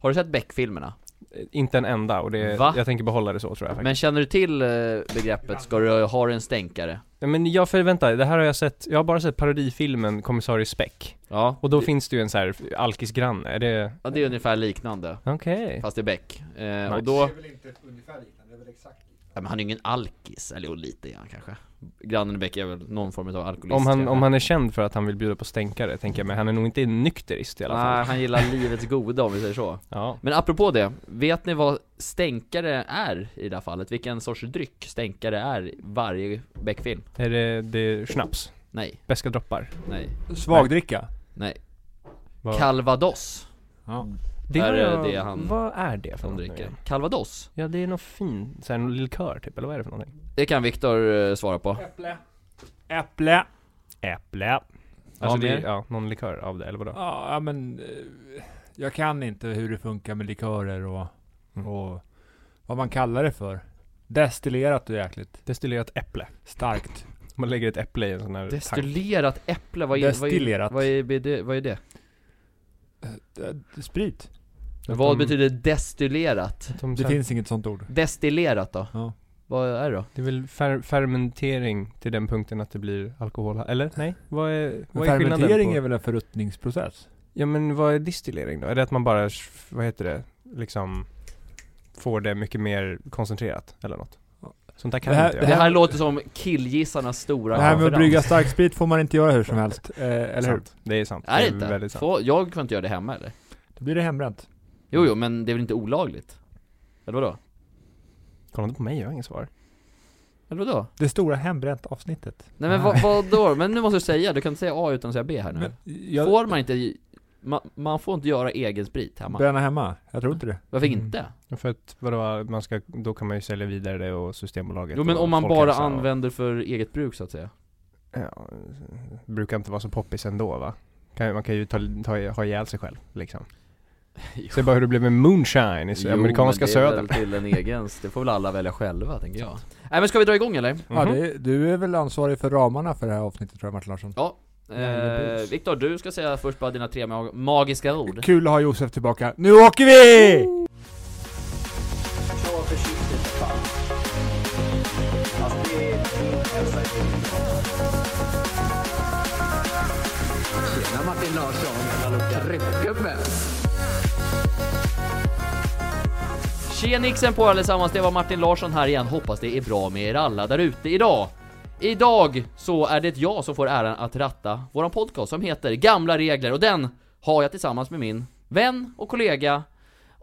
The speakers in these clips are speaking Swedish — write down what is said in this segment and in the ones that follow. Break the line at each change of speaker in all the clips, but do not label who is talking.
Har du sett Beck-filmerna?
Inte en enda och det,
Va?
jag tänker behålla det så tror jag faktiskt
Men känner du till eh, begreppet 'Ska du ha en stänkare'?
men... men jag förväntar, det här har jag sett, jag har bara sett parodifilmen Kommissarie Speck
Ja,
Och då
det,
finns det ju en så här alkisgranne, är det,
ja, det är ungefär liknande,
okej
fast det är Beck eh,
Nice.
Och då,
Det är väl inte ungefär liknande, det är väl exakt
ja, men han är ju ingen alkis, eller jo lite är han kanske Grannen Beck är väl någon form av alkoholist
Om han,
kanske.
om han är känd för att han vill bjuda på stänkare tänker jag, men han är nog inte nykterist i alla fall
Nej, han gillar livets goda om vi säger så
Ja,
Men apropå det, vet ni vad stänkare är i det här fallet? Vilken sorts dryck stänkare är i varje Beck-film?
är det, det är schnaps?
Nej,
Beska droppar?
nej,
Svagdricka?
nej
Vad-
Calvados,
Ja.
Mm.
det
är
har jag-
det han-
Vad är det för
de
något nu
dricker
igen?
Calvados?
Ja det är någon fin, såhär någon likör typ, eller vad är det för någonting?
Det kan Viktor eh, svara på
Äpple. Äpple. Äpple.
Ja,
Alltså det är,
mer?
ja, någon likör av det, eller vadå?
Ja, ja, men eh, jag kan inte hur det funkar med likörer och,
Mm.
och vad man kallar det för. Destillerat och jäkligt
Destillerat äpple
starkt.
Man lägger ett äpple i en sån här tank
Destillerat äpple, vad är,
Destillerat.
Vad, är, vad, är det, vad är det?
D- eh, Sprit.
Att
vad
de-
betyder destillerat?
de
Det
så här-
finns inget sånt ord.
Destillerat då?
Ja.
Vad är det då?
Det är väl fer fermentering till den punkten att det blir alkohol, eller? Nej? Vad är,
Men
vad är skillnaden
fermentering
på?
är väl en förruttningsprocess?
Ja men vad är distillering då? Är det att man bara, vad heter det, liksom får det mycket mer koncentrerat eller något? Sånt där kan
Det här-
inte
Det
jag.
här,
här-
låter som killgissarnas stora
Det här med att
konferens.
brygga starksprit får man inte göra hur som helst. Eh, eller hur?
sant. Det är sant.
Är det inte?
väldigt sant.
Får, jag får inte göra det hemma eller?
Då blir det hembränt.
Jo, jo, men det är väl inte olagligt? Eller vadå?
Kolla inte på mig, jag har inget svar.
Eller vadå?
Det stora hembränt avsnittet.
Nej men vad, vadå? Men nu måste du säga, du kan inte säga A utan att säga B här nu
Men jag,
Får man inte, man, man får inte göra egen sprit hemma?
bränna hemma? Jag tror inte det.
Varför
Mm.
inte?
För att vadå, man ska, då kan man ju sälja vidare det och Systembolaget
Jo men
och
om man bara
folkhälsa och-
använder för eget bruk så att säga
Ja, brukar inte vara så poppis ändå va? Kan, man kan ju ta, ta, ha ihjäl sig själv liksom. Se bara hur det blev med moonshine i
Jo,
Alltså, amerikanska
men
södern.
det är väl till en egen, det får väl alla välja själva tänker jag Nej men ska vi dra igång eller?
Ja, det, du är väl ansvarig för ramarna för det här avsnittet tror jag Martin Larsson.
Eh, Viktor, du ska säga först bara dina tre mag- magiska ord
Kul att ha Josef tillbaka. Nu åker vi!
Tjenixen på er allesammans, det var Martin Larsson här igen, hoppas det är bra med er alla där ute idag Idag så är det jag som får äran att ratta våran podcast som heter Gamla Regler och den har jag tillsammans med min vän och kollega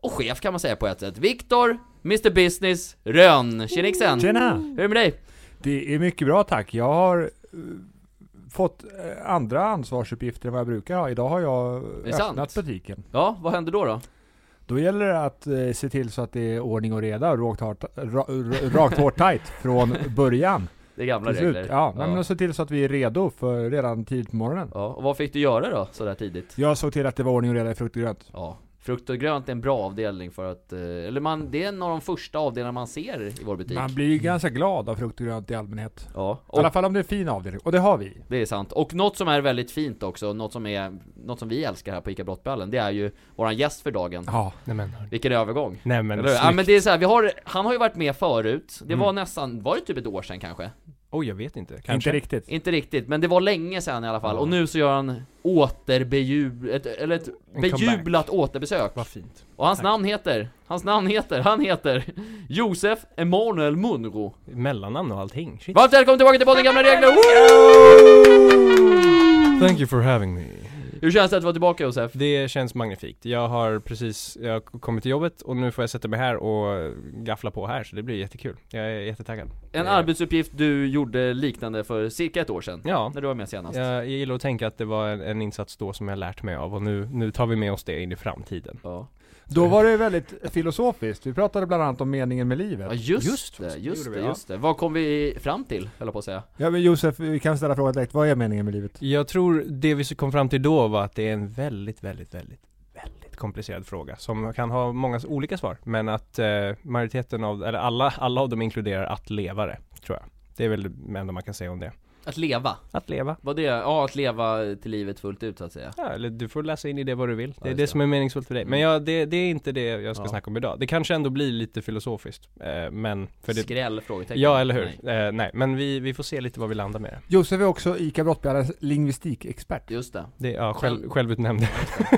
och chef kan man säga på ett sätt, Viktor Mr Business Rönn, tjenixen!
Tjena!
Hur är det med dig?
Det är mycket bra tack. Jag har eh, fått eh, andra ansvarsuppgifter än vad jag brukar ha. Idag har jag
det
öppnat
sant?
butiken.
Ja, vad hände då då?
Då gäller det att eh, se till så att det är ordning och reda och rakt, hart, ra, ra, rakt hårt tajt från början.
Det är gamla
Till slut.
regler
Ja,
ja.
men och se till så att vi är redo för redan tidigt på morgonen.
ja, och vad fick du göra då sådär tidigt?
Jag såg till att det var ordning och reda i frukt och grönt.
Ja, frukt och grönt är en bra avdelning för att, eh, eller man, det är en av de första avdelningarna man ser i vår butik
Man blir ju ganska glad av frukt och grönt i allmänhet.
Ja,
I alla fall om det är en fin avdelning. Och det har vi.
Det är sant. Och något som är väldigt fint också, något som, är, något som vi älskar här på ICA Brottballen, det är ju våran gäst för dagen.
Ja.
Nej men,
Vilken övergång!
nej men,
Eller hur? Ja,
snyggt.
men det är så här, vi har, han har ju varit med förut, det
Mm.
var nästan, var det typ ett år sedan kanske?
Oj jag vet inte, kanske?
Inte riktigt.
Inte riktigt, men det var länge sedan i alla fall,
Ja.
och nu så gör han återbejub... Ett, eller ett
En
bejublat återbesök.
Vad fint.
Och hans
Tack.
namn heter, hans namn heter, han heter Josef Emanuel Munro.
Mellannamn och allting, shit.
Varmt välkommen tillbaka till podden Gamla Regler! Woo!
Thank you for having me.
Hur känns det att vara tillbaka Josef?
Det känns magnifikt. Jag har precis, jag har kommit till jobbet och nu får jag sätta mig här och gaffla på här så det blir jättekul. Jag är jättetaggad.
En
Eh,
arbetsuppgift du gjorde liknande för cirka ett år sedan,
Ja.
när du var med senast.
Jag, jag gillar att tänka att det var en, en insats då som jag lärt mig av och nu, nu tar vi med oss det in i framtiden.
Ja,
Då var det väldigt filosofiskt. Vi pratade bland annat om meningen med
ja
livet.
just,
Just,
det,
det
just
gjorde
det,
vi, ja.
just det. Vad kom vi fram till, höll jag på att säga.
Ja men Josef, vi kan ställa frågan direkt. Vad är meningen med livet?
Jag tror det vi kom fram till då var att det är en väldigt, väldigt, väldigt, väldigt komplicerad fråga som kan ha många olika svar men att eh, majoriteten av, eller alla, alla av dem inkluderar att leva det, tror jag. Det är väl det enda man kan säga om det.
Att leva?
Att leva.
Vad det? Ja, att leva till livet fullt ut så att säga.
Ja, eller du får läsa in i det vad du vill.
Ja,
Det är
just
det
det.
som är meningsfullt för dig. Men ja, det, det är inte det jag ska
Ja.
snacka om idag. Det kanske ändå blir lite filosofiskt. Eh, men, för det...
Skräll? Frågetecken?
Ja, eller hur?
Nej.
Eh, nej, men vi, vi får se lite vad vi landar med.
Josef är också ICA Brottbjärnas lingvistikexpert.
Just det.
Det, ja, själv, självutnämnd.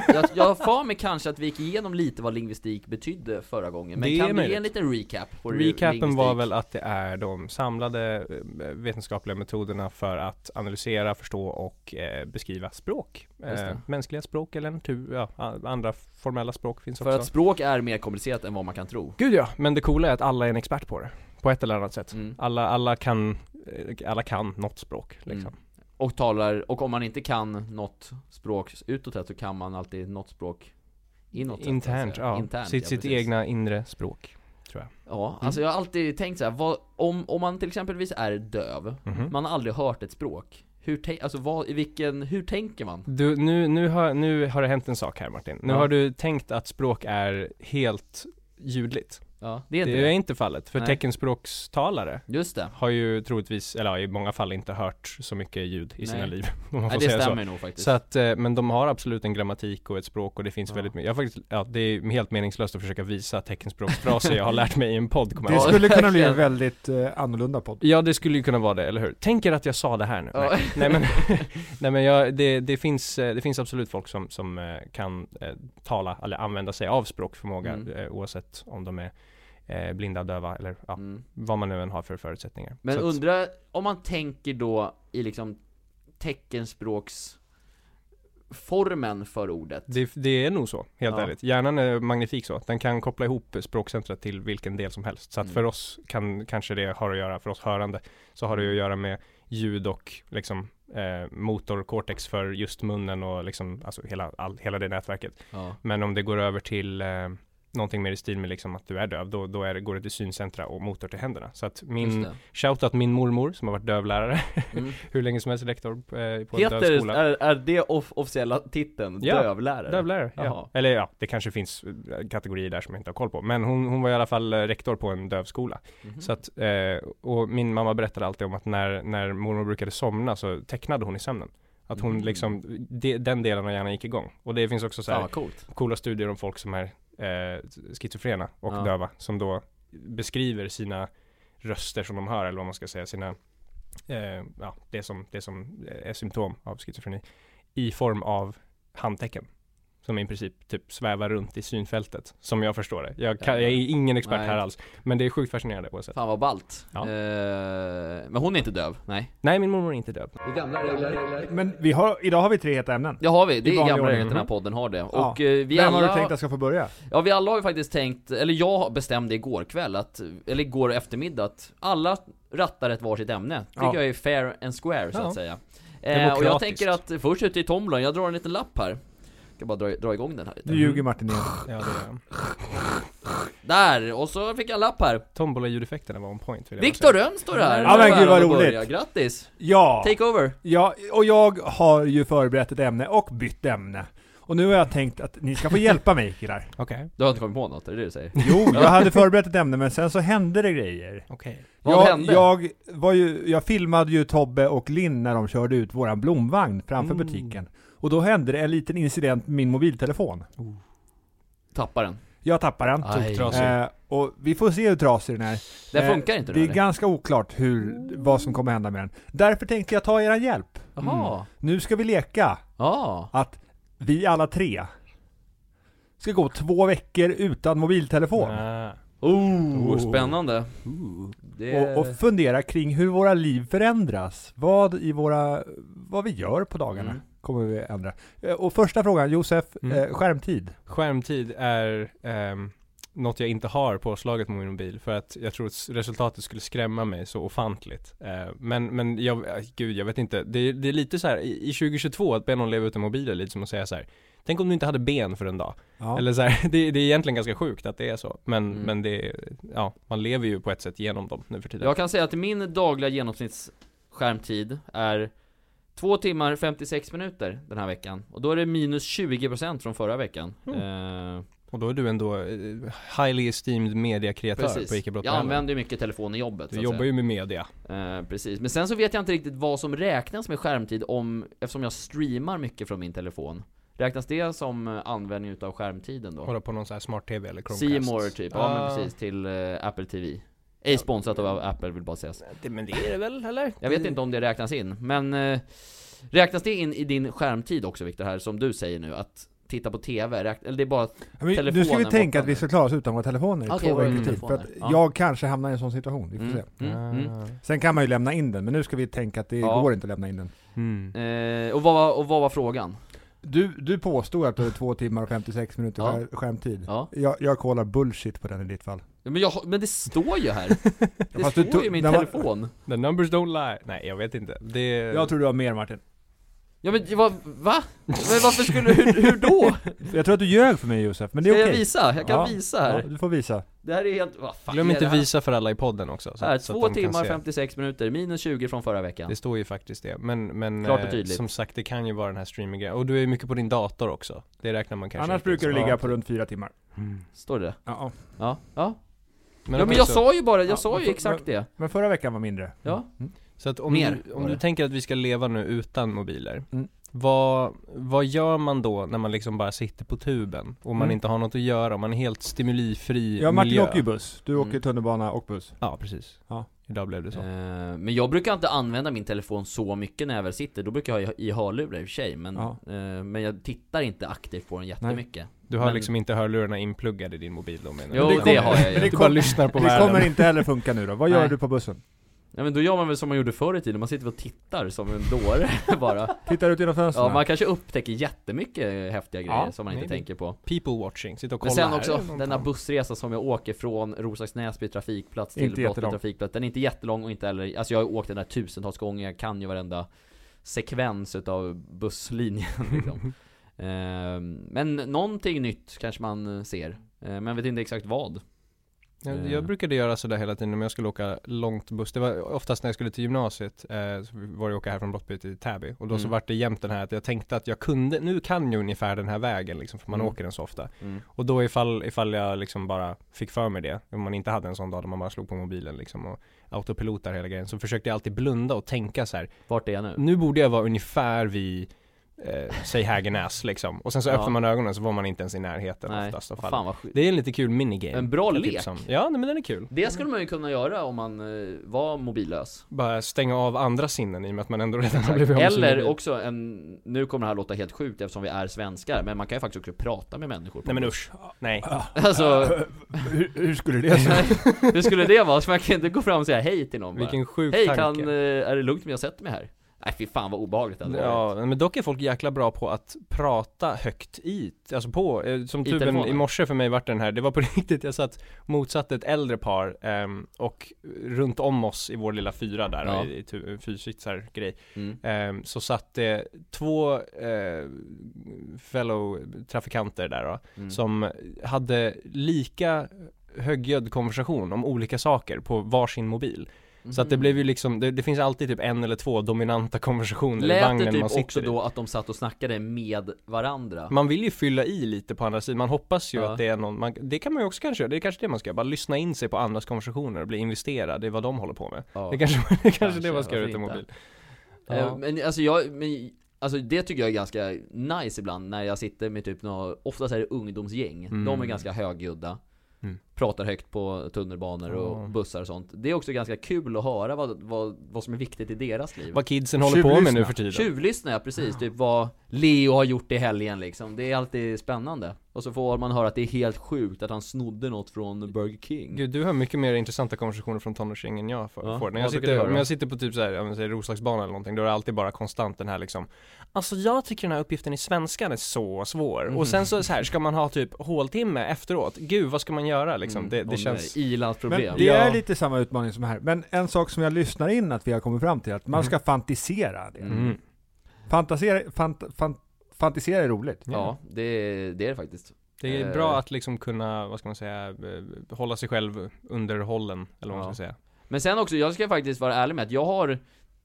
Jag, jag har för mig kanske att vi gick igenom lite vad lingvistik betydde förra gången, men
Det
kan
är
du ge en
möjligt.
liten recap? På
Recapen
lingvistik?
var väl att det är de samlade eh, vetenskapliga metoderna för att analysera, förstå och eh, beskriva språk.
Just det.
Eh, mänskliga språk eller natur, ja, a- andra formella språk finns
För
också.
att språk är mer komplicerat än vad man kan tro.
Gud ja, men det coola är att alla är en expert på det. På ett eller annat sätt.
Mm.
Alla, alla, kan, eh, alla kan något språk liksom.
Mm. Och talar, och om man inte kan något språk utåt sett så kan man alltid något språk inåt sett, så att
Internt,
säga.
ja.
alltså. Internt,
sitt
ja,
sitt
precis.
egna Mm. inre språk.
Ja, alltså jag har alltid tänkt så här, vad, om, om man till exempelvis är döv,
Mhm.
man har aldrig hört ett språk. Hur, tän- alltså vad, i vilken, hur tänker man?
Du, nu, nu, har, nu har det hänt en sak här Martin. Nu
Ja.
har du tänkt att språk är helt ljudligt.
Ja, det är inte
Det
det.
är inte fallet, för
Nej.
teckenspråkstalare
Just det.
har ju troligtvis, eller ja, i många fall inte hört så mycket ljud i sina
Nej.
liv. Om man
Nej,
får
det
säga så.
stämmer nog faktiskt.
Så att, eh, men de har absolut en grammatik och ett språk och det finns
Ja.
väldigt mycket. Jag har faktiskt, ja, det är helt meningslöst att försöka visa teckenspråksfraser jag har lärt mig i en podd. kommer
Det
jag ihåg.
skulle kunna bli
verkligen.
en väldigt eh, annorlunda podd.
Ja det skulle ju kunna vara det, eller hur? Tänk er att jag sa det här nu.
Ja.
Nej, nej men, nej, men jag, det, det, finns, eh, det finns absolut folk som, som eh, kan eh, tala eller använda sig av språkförmåga
Mm.
eh, oavsett om de är eh, blinda, döva eller ja,
Mm.
vad man nu än har för förutsättningar.
Men
Så att-
undra, om man tänker då i liksom teckenspråksformen för ordet.
Det, det är nog så, helt
Ja.
ärligt. Hjärnan är magnifik så. Den kan koppla ihop språkcentret till vilken del som helst. Så att
Mm.
för oss kan kanske det har att göra, för oss hörande, så har det
Mm.
ju att göra med ljud och liksom eh, motorcortex för just munnen och liksom, alltså hela, all, hela det nätverket.
Ja.
Men om det går över till eh, någonting mer i stil med liksom att du är döv, då, då är det, går det till syncentra och motor till händerna. Så att
Just
min,
det.
shoutout min mormor som har varit dövlärare
Mm.
hur länge som helst, rektor eh, på en
Heter,
dövskola.
är, är det off- officiella titeln?
Ja,
Dövlärare?
Dövlärare,
Jaha.
ja. Eller ja, det kanske finns eh, kategorier där som jag inte har koll på. Men hon, hon var i alla fall eh, rektor på en dövskola.
Mhm.
Så att, eh, och min mamma berättade alltid om att när, när mormor brukade somna så tecknade hon i sömnen. Att hon
Mm.
liksom, de, den delen av hjärnan gick igång. Och det finns också så här
Fan vad coolt.
coola studier om folk som är eh, schizofrena och
Ja.
döva. Som då beskriver sina röster som de hör, eller vad man ska säga, sina, eh, ja, det som, det som är symptom av schizofreni. I form av handtecken. Som i princip typ svävar runt i synfältet. Som jag förstår det. Jag, kan,
Ja.
jag är ingen expert
Nej.
här alls. Men det är sjukt fascinerande på ett sätt.
Fan vad ballt.
Ja.
Eh, men hon är inte döv, nej.
Nej, min mormor är inte döv.
Men vi har, idag har vi tre heta ämnen.
Det har vi, det
I
är
vanlig
gamla
ordning,
regler den här
mhm.
podden har det. Och
Ja.
eh, vi
Vem
alla,
har du tänkt att ska få börja?
ja vi alla har ju faktiskt tänkt, eller jag bestämde igår kväll att, eller igår eftermiddag att alla rattar ett varsitt ämne. Tycker
Ja.
jag är fair and square så
Ja.
att säga. Eh, och jag
Demokratiskt.
tänker att först ut i tombolan, jag drar en liten lapp här. Ska bara dra, dra igång den här lite.
Nu ljuger Martin igen.
Ja, det är
Där! Och så fick jag en lapp här.
Tombola-ljudeffekterna var on point. vill jag bara
Viktor
säga.
Rönn står det här.
Ja, men gud, vad
Äran att börja.
roligt.
Grattis!
Ja,
Take over!
ja, och jag har ju förberett ett ämne och bytt ämne. Och nu har jag tänkt att ni ska få hjälpa mig killar.
Okej.
Du har inte kommit på något, är det det du säger?
Jo, jag hade förberett ett ämne men sen så hände det grejer.
Okej.
Vad
jag,
hände?
Jag, var ju, jag filmade ju Tobbe och Linn när de körde ut våran blomvagn framför
Mm.
butiken. Och då hände det en liten incident med min mobiltelefon.
Tappar den.
Jag tappade den.
Aj.
Toktrasig.
Eh, och vi får se hur trasig den är.
Det
Eh,
funkar inte
Det
nu
är
eller?
ganska oklart hur, vad som kommer hända med den. Därför tänkte jag ta er hjälp.
Jaha.
Nu ska vi leka
Ja.
att vi alla tre ska gå två veckor utan mobiltelefon.
Ah.
Oh, spännande. Det...
Och, och fundera kring hur våra liv förändras. Vad i våra, vad vi gör på dagarna
Mm.
kommer vi ändra. Eh, Och första frågan, Josef,
Mm.
eh, skärmtid.
Skärmtid är ehm, något jag inte har påslaget på min mobil för att jag tror att s- resultatet skulle skrämma mig så ofantligt. Eh, men, men jag, eh, gud jag vet inte. Det, är- det är lite så här i i 2022 att be någon leva utan mobil är lite som att säga så här. Tänk om du inte hade ben för en dag.
Ja.
Eller så här, det, det är egentligen ganska sjukt att det är så. Men,
Mm.
men det, är- ja, man lever ju på ett sätt genom dem nu för tiden.
Jag kan säga att min dagliga genomsnittsskärmtid är 2 timmar
Mm.
56 minuter den här veckan. Och då är det minus 20% från förra veckan. Eh,
Och då är du ändå eh, highly esteemed mediakreatör på
Precis.
ICA
Jag
Brottby Hallen.
använder ju mycket telefon i jobbet. så
Du
att
jobbar
säga.
ju med media.
Eh, precis, men sen så vet jag inte riktigt vad som räknas med skärmtid om, eftersom jag streamar mycket från min telefon. Räknas det som eh, användning utav skärmtiden då?
Kolla på någon sån här smart-tv eller Chromecast.
C-more typ, ja men
Ah.
precis till eh, Apple TV. Ej sponsrat av Apple vill bara sägas.
Det- Men det är det väl, eller?
Jag
Mm.
vet inte om det räknas in, men eh, räknas det in i din skärmtid också Viktor här, som du säger nu? Att titta på TV, räkn- eller det är bara...
Ja, men
Telefonen
nu ska vi tänka
borta
att vi
nu.
ska klara oss utan våra telefoner i
Okej,
två
våra
veckor tid. För
telefoner.
att
Ja.
jag kanske hamnar i en sån situation. Vi får
Mm,
se.
mm, mm.
Ah.
Sen kan man ju lämna in den, men nu ska vi tänka att det
Ja.
går inte att lämna in den.
Mm.
Eh, och, vad var, och vad var frågan?
Du, du påstod att du hade två timmar och 56 minuter
Ja.
skär, skärmtid.
Ja.
Jag, jag kollar bullshit på den i ditt fall.
Men, jag, men det står ju här! Det
Fast
står
du
ju i
tog-
min
när man-
telefon!
The numbers don't lie. Nej, jag vet inte. Det...
Jag tror du har mer Martin.
Ja men vad, va? Men varför skulle, hur, hur då?
Jag tror att du ljög för mig Josef, men det
Ska
är
jag
okej.
visa? Jag kan
Ja,
visa här.
Ja, du får visa.
Det här är helt, vad fan
Glöm
är
inte
det här?
visa för alla i podden också.
Så här,
så att
två
de kan
timmar
se.
56 minuter, minus 20 från förra veckan.
Det står ju faktiskt det, men, men
Klart och
eh,
tydligt.
som sagt det kan ju vara den här streaminggrejen, och du är ju mycket på din dator också Det räknar man kanske
Annars
inte
brukar du
ens.
ligga på runt fyra timmar.
Mm.
Står det det?
Ja.
Ja, ja.
Men,
ja
okej,
men jag
så,
sa ju bara,
Ja,
jag sa
men
ju
för-
exakt det.
Men förra veckan var mindre.
Ja.
Mm.
så att om,
Mer
du,
var
om du
det.
tänker att vi ska leva nu utan mobiler
Mm.
vad, vad gör man då när man liksom bara sitter på tuben och man
Mm.
inte har något att göra, man är helt stimulifri
Ja, Martin
miljö?
åker ju buss. Du
Mm.
åker tunnelbana och buss.
Ja precis,
Ja.
idag blev det så
Eh, Men jag brukar inte använda min telefon så mycket när jag väl sitter, då brukar jag ha i- i hörlurar i och för sig men,
Ja.
eh, men jag tittar inte aktivt på den jättemycket
Du har
men-
liksom inte hörlurarna inpluggade i din mobil då menar
Jo,
du?
det,
Utan-
har jag
men
ju
det
Du
ja,
bara
Kom-
lyssnar på
Det kommer
världen
inte heller funka nu då. Vad
Nej.
gör du på bussen?
men då gör man väl som man gjorde förr i tiden, man sitter och tittar som en dåre bara
Alltså,
Tittar ut genom fönstren?
Ja man kanske upptäcker jättemycket häftiga grejer
Ja,
som man inte
maybe.
tänker på
People watching, sitta och kolla
Men sen
här
också,
är någon
denna
fan.
bussresa som jag åker från Roslags Näsby trafikplats till
Inte
Brottby
jättelång.
trafikplats Den är inte jättelång och inte heller, alltså jag har åkt den där tusentals gånger, jag kan ju varenda sekvens utav busslinjen liksom. Ehm, Men någonting nytt kanske man ser, Ehm, men jag vet inte exakt vad
Jag,
Eh.
jag brukade göra sådär hela tiden om jag skulle åka långt buss. Det var oftast när jag skulle till gymnasiet, eh, så var det att åka här från Brottby till Täby. Och då så
Mm.
vart det jämt den här att jag tänkte att jag kunde, nu kan jag ungefär den här vägen liksom, för man
Mm.
åker den så ofta.
mm.
Och då ifall, ifall jag liksom bara fick för mig det, om man inte hade en sån dag där man bara slog på mobilen liksom och autopilotar hela grejen, så försökte jag alltid blunda och tänka så här.
Vart är jag nu?
nu borde jag vara ungefär vid Eh, säg Hägernäs liksom. Och sen så
Ja.
öppnar man ögonen så var man inte ens i närheten oftast i alla fall.
fan vad sjukt
Det är en lite kul minigame.
En bra
kan jag
lek.
tipsa om. Ja, nej, men den är kul.
Det skulle man ju kunna göra om man eh, var mobillös
bara stänga av andra sinnen i och med att man ändå redan har blivit av med sin
Eller
mobil.
också en, nu kommer det här låta helt sjukt eftersom vi är svenskar, men man kan ju faktiskt också prata med människor på
Nej men
buss.
usch, nej.
Alltså,
Ah. hur, hur skulle det se ut?
Hur skulle det vara? Så man kan inte gå fram och säga hej till någon bara.
Vilken sjuk
Hej,
tanke.
kan, eh, är det lugnt om jag sätter mig här? Nej fy fan vad obehagligt det hade
Ja, men dock är folk jäkla bra på att prata högt i, alltså på, eh, som
I
tuben
telefonen.
i morse för mig vart den här, det var på riktigt, jag satt motsatt ett äldre par ehm, och runt om oss i vår lilla fyra där,
Ja.
i, i tu- fyrsitsar grej,
Mm.
ehm, så satt det två eh, fellow trafikanter där då,
Mm.
som hade lika högljudd konversation om olika saker på varsin mobil. Så att det blev ju liksom, det, det finns alltid typ en eller två dominanta konversationer i
Lät det
vagnen man
typ
sitter Mm.
också
i.
då att de satt och snackade med varandra?
Man vill ju fylla i lite på andra sidan, man hoppas ju
Ja.
att det är någon, man, det kan man ju också kanske göra, det är kanske det man ska göra, bara lyssna in sig på andras konversationer och bli investerad i vad de håller på med.
Ja.
Det kanske, det kanske,
Kanske,
det man ska göra
varför
utan
inte?
mobil.
Eh,
Ja.
Men alltså jag, men, alltså det tycker jag är ganska nice ibland när jag sitter med typ några, oftast är det ungdomsgäng,
Mm.
de är ganska högljudda
Mm.
Pratar högt på tunnelbanor och
Ja.
bussar och sånt. Det är också ganska kul att höra vad, vad, vad som är viktigt i deras liv.
Vad kidsen håller på med nu
Tjuvlyssna.
för tiden.
Tjuvlyssnar jag precis, typ vad Leo har gjort i helgen liksom. Det är alltid spännande. Och så får man höra att det är helt sjukt att han snodde något från Burger King.
Gud, du har mycket mer intressanta konversationer från tonårsgäng än jag får.
Ja,
får. När
vad
jag
brukar du
sitter,
höra?
om jag sitter på typ såhär, jag säger Roslagsbanan eller någonting, då är det alltid bara konstant den här liksom Alltså jag tycker den här uppgiften i svenskan är så svår, och sen så, så här ska man ha typ håltimme efteråt, gud vad ska man göra liksom?
Mm.
Det, det
Åh,
känns
nej. Ilans problem.
Men det är
Ja.
lite samma utmaning som här. Men en sak som jag lyssnar in att vi har kommit fram till, att man ska fantisera. Det.
Mm.
Fantasera, fant, fant, fantisera är roligt.
Ja, det, är- det är det faktiskt.
Det
Eh.
är bra att liksom kunna, vad ska man säga, eh, hålla sig själv underhållen, eller vad man
Ja.
ska säga
Men sen också, jag ska faktiskt vara ärlig med att jag har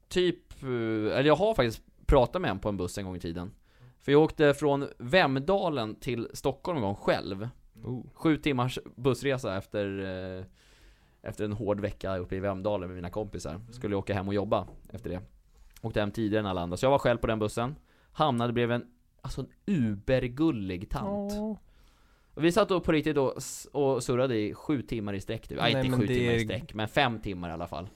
typ, eh, eller jag har faktiskt pratat med en på en buss en gång i tiden. För jag åkte från Vemdalen till Stockholm en gång själv.
Oh.
Sju timmars bussresa efter eh, Efter en hård vecka uppe i Vemdalen med mina kompisar
Mm.
Skulle jag åka hem och jobba efter det Åkte hem tidigare än alla andra, så jag var själv på den bussen Hamnade bredvid en Alltså en ubergullig tant och Vi satt då på riktigt och, s- och surrade i sju timmar i sträck typ. Nej,
Nej,
inte
men
sju
det
timmar i
är-
sträck, men fem timmar i alla fall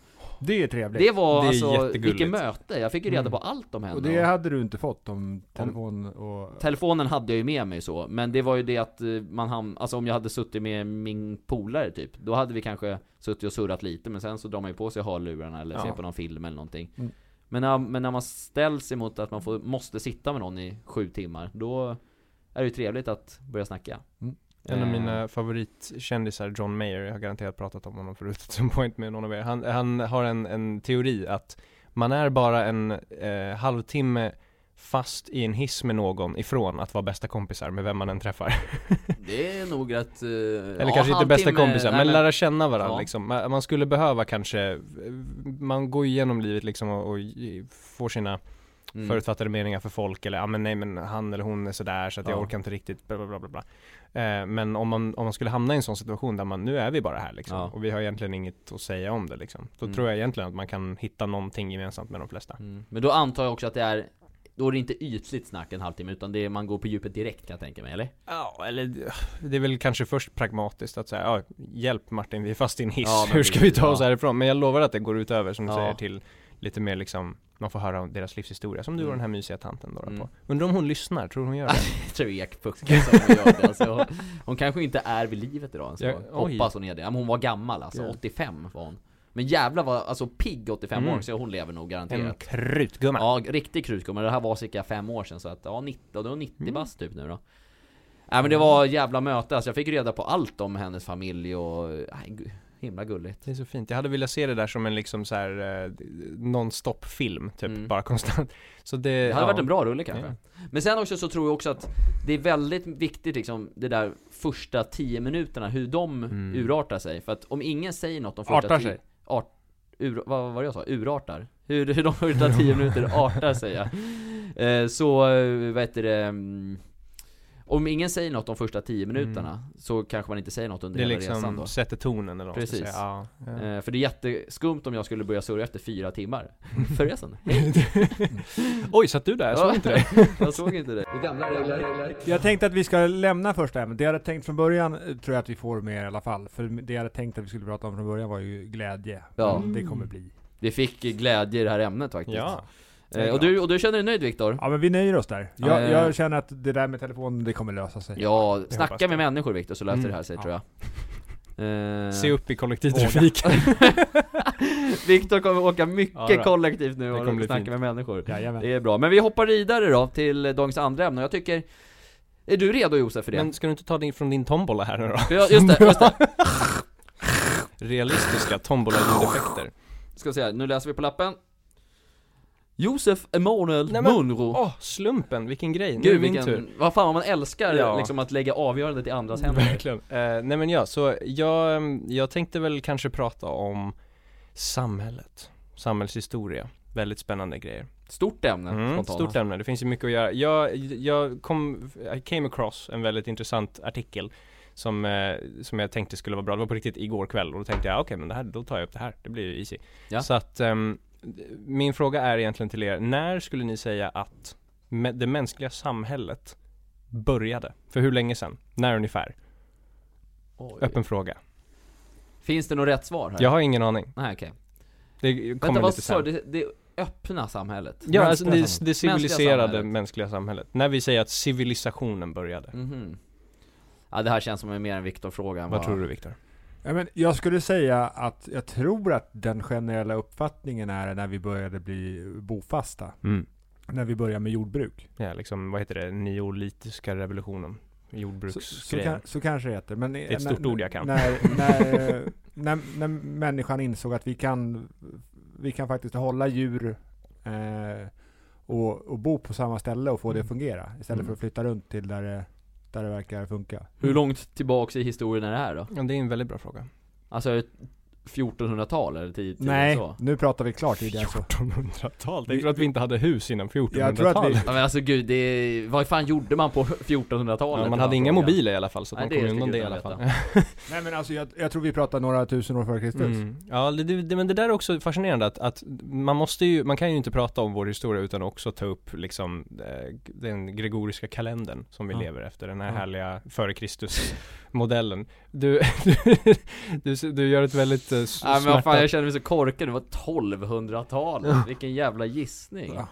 Det är trevligt.
Det var
Det är
alltså,
jättegulligt.
vilket möte! Jag fick ju reda
Mm.
på allt om henne
och det hade du inte fått om telefon och...
Telefonen hade jag ju med mig så, men det var ju det att eh, man hamn, alltså om jag hade suttit med min polare typ Då hade vi kanske suttit och surrat lite, men sen så drar man ju på sig hörlurarna eller ser
Ja.
på någon film eller någonting
Mm.
men, när, men när man ställs emot att man får, måste sitta med någon i sju timmar Då är det ju trevligt att börja snacka
Mm.
En av
Eh,
mina favoritkändisar, John Mayer, jag har garanterat pratat om honom förut at some point med någon av er. Han, han har en, en teori att man är bara en eh, halvtimme fast i en hiss med någon ifrån att vara bästa kompisar med vem man än träffar.
Det är nog rätt... Eller
Eller kanske inte bästa kompisar, men lära känna varandra
Ja.
liksom. Man man skulle behöva kanske, man går igenom livet liksom och, och ge- får sina
Mm.
förutfattade meningar för folk eller ja men nej men han eller hon är sådär så att jag
Ja.
orkar inte riktigt bla bla bla bla, bla. Eh, Men om man, om man skulle hamna i en sån situation där man, nu är vi bara här liksom
Ja.
och vi har egentligen inget att säga om det liksom. Då
Mm.
tror jag egentligen att man kan hitta någonting gemensamt med de flesta.
Mm. Men då antar jag också att det är Då är det inte ytligt snack en halvtimme utan det är, man går på djupet direkt kan jag tänka mig, eller?
Ja, eller det- det är väl kanske först pragmatiskt att säga, ja, hjälp Martin vi är fast i en hiss,
Ja, men
hur ska vi
precis,
ta oss
ja.
härifrån? Men jag lovar att det går ut över som du
Ja.
säger till lite mer liksom man får höra om deras livshistoria, som du och
Mm.
den här mysiga tanten då,
Mm.
på. Undrar om hon lyssnar, tror du hon gör det?
Trekpucke som hon gör det alltså. Hon kanske inte är vid livet idag ens
Ja,
då.
oj.
Hoppas hon är det. Ja, men hon var gammal alltså,
Ja.
85 var hon Men jävlar vad, alltså pigg 85 år,
Mm.
så hon lever nog
En
garanterat
krutgumma!
Ja, riktig krutgumma, det här var cirka fem år sedan så att, ja 90, då är hon 90
Mm.
bast typ nu då Nej men det var jävla möte, alltså jag fick reda på allt om hennes familj och, nej, gu- himla gulligt
Det är så fint. Jag hade velat se det där som en liksom så här eh, non-stop film, typ
Mm.
bara konstant. Så det,
Det hade varit en bra rulle kanske.
Ja.
Men sen också så tror jag också att det är väldigt viktigt liksom det där första 10 minuterna, hur de
Mm.
urartar sig. För att om ingen säger något de första
Artar
ti-
sig.
Art, ur, vad var det jag sa? Urartar? Hur, hur de första 10 minuter artar sig ja. Eh, Så, eh, vad heter det? mm, Om ingen säger något de första 10 minuterna så kanske man inte säger något under
Mm. Det är
hela resan
liksom
då.
sätter tonen eller vad man ska
Precis.
säga. Ja, ja.
Eh, För det är jätteskumt om jag skulle börja surra efter fyra timmar. Förresten,
Oj, satt du där? Jag såg
Ja.
inte det.
jag såg inte det.
Jag tänkte att vi ska lämna första ämnet. Det jag hade tänkt från början eh, tror jag att vi får med i alla fall. För det jag hade tänkt att vi skulle prata om från början var ju glädje.
Ja.
Men Det kommer bli.
Vi fick glädje i det här ämnet faktiskt.
Ja.
Eh, och, du, och du känner dig nöjd Viktor?
Ja men vi nöjer oss där.
Ja,
Jag,
eh.
jag känner att det där med telefonen, det kommer lösa sig.
Ja,
jag hoppas
snacka
det.
med människor Viktor så löser
Mm,
det här sig
ja.
tror jag Eh,
Se upp i kollektivtrafiken.
Viktor kommer åka mycket
Ja, då.
kollektivt nu
Det
och
kommer bli
snacka
fint.
med människor
Jajamän.
Det är bra, men vi hoppar vidare då till dagens andra ämne jag tycker Är du redo Josef för det?
Men ska du inte ta din från din tombola här nu då?
För jag, just det, just det.
Realistiska tombola-ljudeffekter.
Ska se här, nu läser vi på lappen Josef Emanuel
Nej, men-
Munro
Åh, slumpen, vilken grej. nu är
Gud
min tur.
vilken, vad fan vad man älskar
Ja.
liksom att lägga avgörandet i andras händer
Verkligen. Eh, nej men ja, så jag, ehm, jag tänkte väl kanske prata om samhället, samhällshistoria. Väldigt spännande grejer.
Stort ämne
Mm,
spontant
stort ämne, det finns ju mycket att göra. Jag, jag kom, I came across en väldigt intressant artikel som, eh, som jag tänkte skulle vara bra. Det var på riktigt igår kväll och då tänkte jag okej men det här, då tar jag upp det här. Det blir ju easy.
Ja.
Så att ehm, d- min fråga är egentligen till er, när skulle ni säga att mä- det mänskliga samhället började? För hur länge sedan? När ungefär?
Oj.
Öppen fråga.
Finns det något rätt svar här?
Jag har ingen aning.
Nej okej
Det
Vänta
kommer
vad
lite
sa
sen.
du? Det, det öppna samhället?
Ja, alltså
Mänskliga
det,
samhället.
det civiliserade
samhället.
mänskliga samhället. När vi säger att civilisationen började.
Mhm Ja det här känns som en mer en Viktor-fråga än
Vad tror du Viktor?
Ja, men jag skulle säga att jag tror att den generella uppfattningen är när vi började bli bofasta. När vi började med jordbruk.
Ja, liksom, vad heter det? Neolitiska revolutionen.
Så, så,
Jordbruksgrejen.
kan, så kanske det heter. Men det
är ett stort ord jag kan.
När, när, när, när människan insåg att vi kan, vi kan faktiskt hålla djur eh, och, och bo på samma ställe och få det att fungera. Istället
Mm.
för att flytta runt till där det, där det verkar funka.
Mm.
Hur långt tillbaks i historien är det här då?
Ja, det är en väldigt bra fråga.
Alltså 1400-tal eller tid,
Nej,
så.
nu pratar vi klart tidigare än så.
1400-tal? Tänk alltså. att vi inte hade hus innan 1400-talet.
Jag tror att vi-
Ja, men alltså gud, det, vad fan gjorde man på 1400-talet?
Ja, man hade inga
Frågan.
mobiler i alla fall så att
Nej,
man
det
kom
ska
undan det i alla
gudarna
fall. Mm.
Nej men alltså jag, jag tror vi pratar några tusen år före Kristus.
Mm. Ja, det, det, men det där är också fascinerande att, att man måste ju, man kan ju inte prata om vår historia utan också ta upp liksom eh, den gregoriska kalendern som vi
Ja.
lever efter, den här
Ja.
härliga före Kristus-modellen. Du, du, du, du gör ett väldigt eh, s-
Nej men vad fan, jag
smärtat-
känner mig så korkad, det var 1200-talet, vilken jävla gissning
Ja.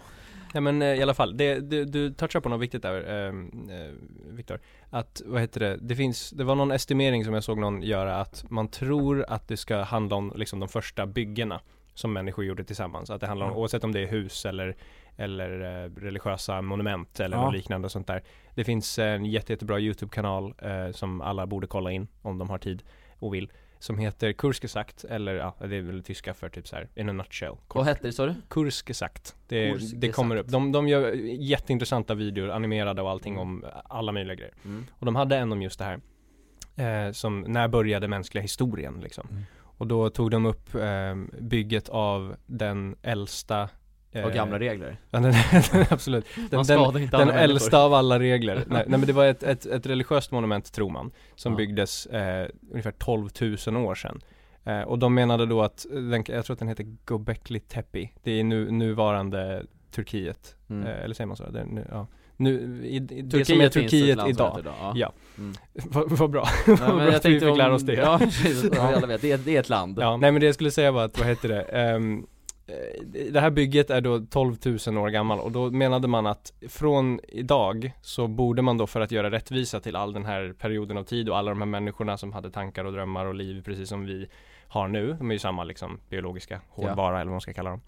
Nej men eh, i alla fall, det, du, du touchar på något viktigt där eh, eh, Viktor. Att, vad heter det, det finns, det var någon estimering som jag såg någon göra att man tror att det ska handla om liksom de första byggena som människor gjorde tillsammans. Att det handlar om,
Mm.
oavsett om det är hus eller, eller eh, religiösa monument eller
Ja.
något liknande och sånt där. Det finns en jätte, jättebra YouTube-kanal eh, som alla borde kolla in om de har tid och vill. Som heter Kursgesagt, eller ja, det är väl tyska för typ så här, in a nutshell.
Vad hette det sa du?
Kursgesagt. Det,
Kursgesagt.
det kommer upp. De, de gör jätteintressanta videor, animerade och allting om alla möjliga grejer.
Mm.
Och de hade en om just det här. Eh, som, när började mänskliga historien liksom?
Mm.
Och då tog de upp eh, bygget av den äldsta eh,
Och gamla regler?
ja, den, den, absolut. Den,
Man
den,
skadar inte
den
andra människor.
äldsta av alla regler. nej, nej men det var ett, ett, ett religiöst monument tror man. Som
Ja.
byggdes eh, ungefär 12 000 år sedan. Eh, och de menade då att, eh, den, jag tror att den heter Göbekli Tepe. Det är nu, nuvarande Turkiet.
Mm.
Eh, eller säger man så? Det, är nu, ja. nu, i, i, det
Turkiet
som är
finns ett
Turkiet
land som
idag.
heter idag.
Ja.
Ja.
Vad vad bra.
Nej,
Vad bra att vi fick lära oss det.
Ja, precis, så vi alla vet, det är, det är ett land.
Ja, nej men det jag skulle säga var att, vad heter det, Ehm, eh, det här bygget är då 12 000 år gammal och då menade man att från idag så borde man då för att göra rättvisa till all den här perioden av tid och alla de här människorna som hade tankar och drömmar och liv precis som vi har nu, de är ju samma liksom biologiska hårdvara eller vad man ska kalla dem.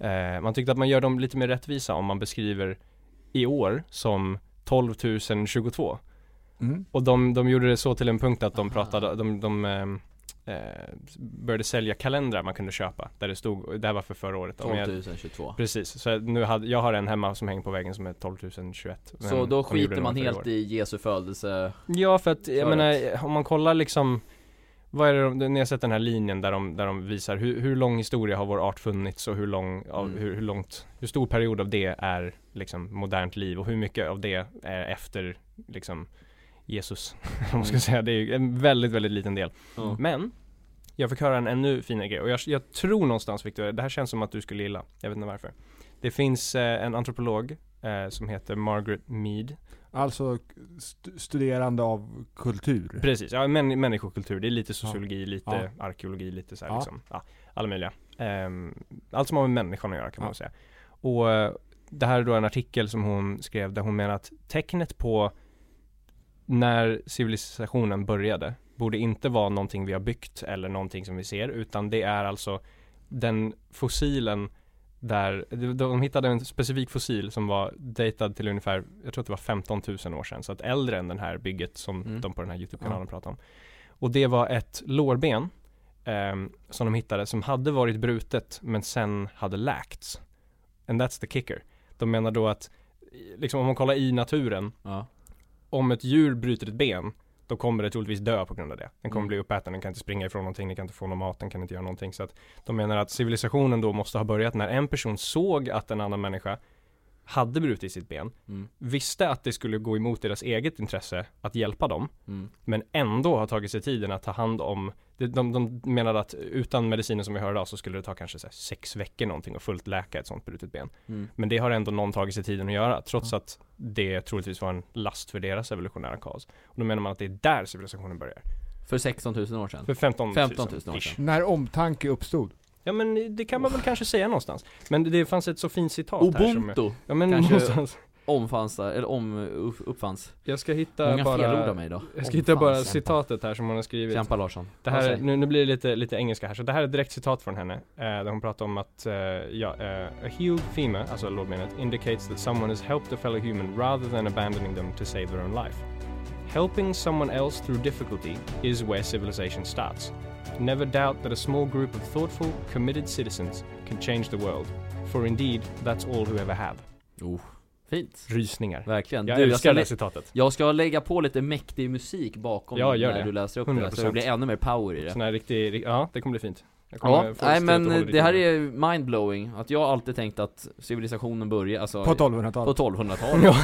Eh, man tyckte att man gör dem lite mer rättvisa om man beskriver i år som 12 022
Mm.
och de, de gjorde det så till en punkt att de
Aha.
pratade, de, de ehm, eh, började sälja kalendrar man kunde köpa där det stod, det här var för förra året. Om
12
jag,
022.
precis, så jag- nu hade, jag har en hemma som hänger på väggen som är 12 021. men
Så då
de gjorde
skiter
den
man
för i
helt
år.
i Jesu födelse?
Ja för att, jag
Förut.
menar, om man kollar liksom vad är det de, ni har sett den här linjen där de, där de visar hur, hur lång historia har vår art funnits och hur lång, av,
Mm.
hur, hur långt, hur stor period av det är liksom modernt liv och hur mycket av det är efter liksom Jesus, om man ska
Mm.
säga. Det är ju en väldigt, väldigt liten del.
Ja.
Men, jag fick höra en ännu finare grej och jag, jag tror någonstans Victor, det här känns som att du skulle gilla, jag vet inte varför. Det finns eh, en antropolog eh, som heter Margaret Mead
Alltså st- studerande av kultur.
Precis, ja, män, människokultur. Det är lite sociologi, lite
Ja.
arkeologi, lite så här,
Ja.
liksom. Ja, alla möjliga. Ehm, allt som har med människan att göra kan man
Ja.
säga. Och eh, det här är då en artikel som hon skrev där hon menar att tecknet på när civilisationen började borde inte vara någonting vi har byggt eller någonting som vi ser utan det är alltså den fossilen där, de- de hittade en specifik fossil som var datad till ungefär, jag tror att det var 15 000 år sedan, så att äldre än den här bygget som
Mm.
de på den här YouTube-kanalen pratade om. Och det var ett lårben ehm, som de hittade som hade varit brutet men sen hade läkts. And that's the kicker. De menar då att, i- liksom om man kollar i naturen,
Ja.
om ett djur bryter ett ben, då kommer det troligtvis dö på grund av det. Den kommer
Mm.
bli uppäten, den kan inte springa ifrån någonting, den kan inte få någon mat, den kan inte göra någonting. Så att de menar att civilisationen då måste ha börjat när en person såg att en annan människa hade brutit sitt ben,
Mm.
visste att det skulle gå emot deras eget intresse att hjälpa dem,
Mm.
men ändå har tagit sig tiden att ta hand om de, de, de menade att utan mediciner som vi hör idag så skulle det ta kanske så här sex veckor någonting och fullt läka ett sånt brutet ben.
Mm.
Men det har ändå någon tagit sig tiden att göra trots att det troligtvis var en last för deras evolutionära kaos. Och då menar man att det är där civilisationen börjar.
För 16 000 år sedan?
För 15 000,
15 000 år
ish.
sedan.
När omtanke uppstod.
Ja men det kan man väl kanske säga någonstans. Men det fanns ett så fint citat här som...
Ubuntu
Ja men
Kanske-
någonstans.
omfanns där, eller om, upp- uppfanns.
Jag ska hitta
Många felord
bara...
av mig idag.
Jag ska hitta bara
Omfanns.
citatet här som hon har skrivit.
Kämpa Larsson.
Det här, nu, nu blir det lite, lite engelska här, så det här är ett direkt citat från henne. eh, där hon pratar om att, eh, ja, eh, a healed femur, alltså lårbenet, indicates that someone has helped a fellow human rather than abandoning them to save their own life. Helping someone else through difficulty is where civilization starts. Never doubt that a small group of thoughtful, committed citizens can change the world. For indeed, that's all who ever have.
Oh, Fint.
Rysningar.
Verkligen.
Jag
Du, jag
älskar
ska,
det här
lä-
citatet.
jag ska lägga på lite mäktig musik bakom
Ja, gör
när
det.
du läser upp det, så det
100%.
blir ännu mer power i det.
Sån här riktig, ri- ja det kommer bli fint. Jag kommer
Ja,
få
nej
styret
men
och hålla
det här
ryggen.
är mindblowing, att jag har alltid tänkt att civilisationen börjar, alltså
På 1200-talet.
på 1200-talet
Ja.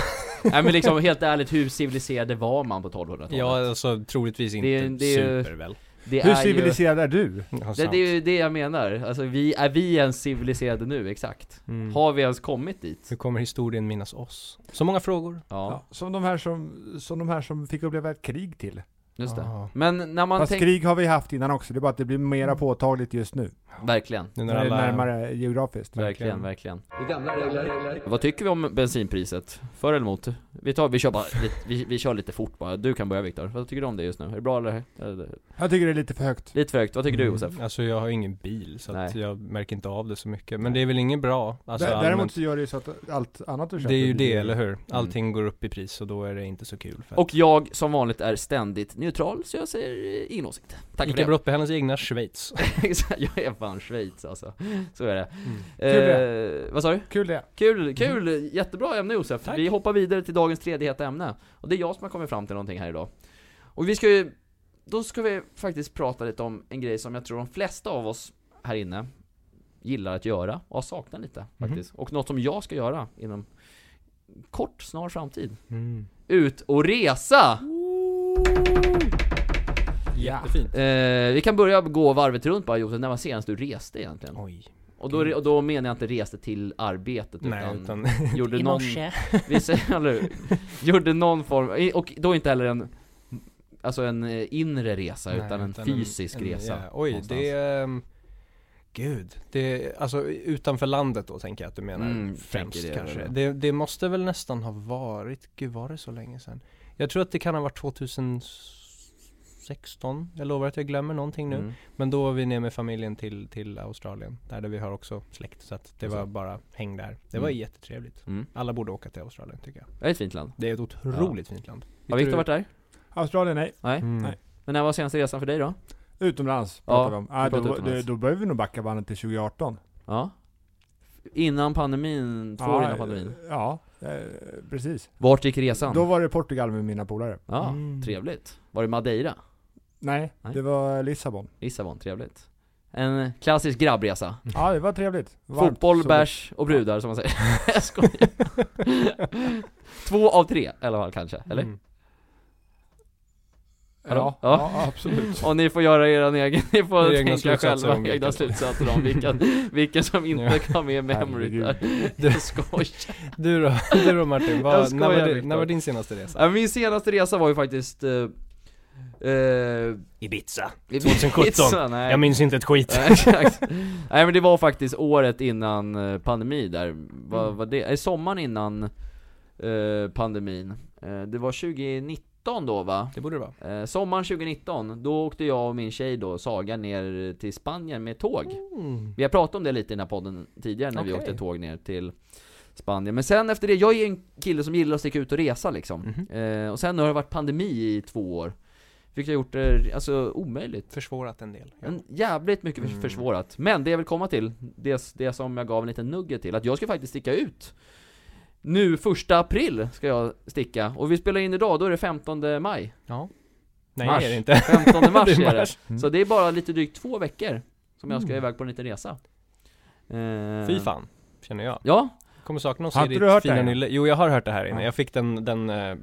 Nej men liksom helt ärligt, hur civiliserade var man på 1200-talet?
Ja alltså troligtvis inte
Det är- det är-
super väl.
det
Hur
ju-
civiliserad är du?
Ja,
det,
sant.
det är ju det jag menar, alltså vi, är vi ens civiliserade nu? Exakt
Mm.
Har vi ens kommit dit?
Hur kommer historien minnas oss? Så många frågor.
Ja,
Ja, som, de här som, som de här som fick uppleva ett krig till.
just det
Ah,
Men när man
Fast
tänker,
krig har vi haft innan också, det är bara att det blir
Mm.
mera påtagligt just nu.
verkligen
nu när
När det är
alla...
närmare geografiskt.
Verkligen,
Verkligen.
verkligen. Vad tycker vi om bensinpriset? För eller emot? Vi, tar, vi, kör bara, lite- vi, vi kör lite fort bara, du kan börja Viktor. Vad tycker du om det just nu? Är det bra eller? eller
Jag tycker det är lite för högt.
lite för högt, vad tycker du Josef?
Mm, Alltså jag har ingen bil så att
Nej.
jag märker inte av det så mycket. Men det är väl inget bra? Alltså,
Dä- Däremot
allmänt.
så gör det ju så att allt annat du köper
Det är ju
blir
det,
dyrare.
eller hur? Allting går upp i pris och då är det inte så kul. För
Mm. Och jag som vanligt är ständigt neutral, så jag säger eh, ingen åsikt. Tack för
Icke
det.
brott hennes egna Schweiz.
Exakt, jag är fan Schweiz alltså. Så är det.
Mm.
Kul
Eh, vad sa du?
Kul det.
Kul, kul, jättebra ämne Josef.
Tack.
Vi hoppar vidare till dagens tredje heta ämne. Och det är jag som har kommit fram till någonting här idag. Och vi ska ju, då ska vi faktiskt prata lite om en grej som jag tror de flesta av oss här inne gillar att göra och saknar lite faktiskt. Och något som jag ska göra inom kort, snar framtid.
Mm.
Ut och resa!
Jättefint.
Eh, vi kan börja gå varvet runt bara Josef, när var senast du reste egentligen?
Oj.
Och då, och då menar jag inte reste till arbetet
Nej,
utan,
utan
gjorde någon, vi säger, eller, hur? gjorde någon form, och då inte heller en, alltså en eh, inre resa
Nej,
utan en fysisk
en-
resa.
ja. Oj,
någonstans.
det är... ehm, Gud, det är, alltså utanför landet då tänker jag att du menar
Mm,
främst
tänker det,
kanske.
ja.
Det, det måste väl nästan ha varit, gud var det så länge sedan? Jag tror att det kan ha varit 2016, jag lovar att jag glömmer någonting nu.
Mm.
Men då var vi ner med familjen till, till Australien, där, där vi har också släkt. Så att det
Alltså.
var bara häng där. Det
Mm.
var jättetrevligt.
Mm.
Alla borde åka till Australien tycker jag.
Det är ett fint land.
Det är ett otroligt fint land.
Har Viktor varit där?
Australien, nej.
Nej.
Mm.
Nej.
Men när var senaste resan för dig då?
Utomlands pratar vi om.
vi
Ah, då,
pratar utomlands.
då, då börjar vi nog backa bandet till 2018.
Ja. Innan pandemin, två år
Ja,
innan pandemin.
Ja, eh, precis.
Vart gick resan?
Då var det Portugal med mina polare.
Ja,
Mm.
trevligt. Var det Madeira?
Nej,
Nej.
det var Lissabon.
Lissabon, trevligt. En klassisk grabbresa.
Ja, det var trevligt. Varmt,
Fotboll,
soligt.
bärs och brudar som man säger. Jag skojar. Två av tre i alla fall kanske, eller?
Mm.
Hallå?
Ja,
Ja.
ja. absolut.
Och ni får göra er egen, ni får
Era egna
tänka
slutsatser
själva
om
egna
vilken-
slutsatser om vilken, vilken som inte
Ja.
kan med i memory
Herregud.
där. Jag skojar.
Du då, du då Martin,
Jag
vad,
skojar,
när, var du,
Viktor.
när var din senaste resa?
Ja, Min senaste resa var ju faktiskt... Eh, eh,
Ibiza.
i
2017.
Ibiza, nej.
Jag minns inte ett skit.
Nej, Exakt. Nej men det var faktiskt året innan eh, pandemi där, vad
Mm.
var det? Eh, Sommaren innan eh, pandemin. Eh, det var 2019 då va?
Det borde det vara.
Eh, sommaren 2019, då åkte jag och min tjej då, Saga, ner till Spanien med tåg. Vi har pratat om det lite i den här podden tidigare när vi
Okej.
åkte tåg ner till Spanien. Men sen efter det, jag är en kille som gillar att sticka ut och resa liksom.
Mhm.
Eh, och sen har det varit pandemi i två år. Vilket har gjort det, alltså omöjligt.
Försvårat en del. Ja.
En jävligt mycket för-
Mm.
försvårat. Men det jag vill komma till, det, det som jag gav en liten nugget till, att jag ska faktiskt sticka ut. Nu första april ska jag sticka, och vi spelar in idag, då är det 15 maj.
ja. Nej
Mars.
det är det inte.
15 mars
Det
är
är
det.
mars.
Så det är bara lite drygt två veckor som jag ska
Mm.
iväg på en liten resa. Eh,
Fy fan, känner jag.
Ja,
Kommer sakna oss
Har
i
inte
ditt
du hört det
fina
här?
nylle. Jo jag har hört det här inne.
Ja.
Jag fick den, den eh,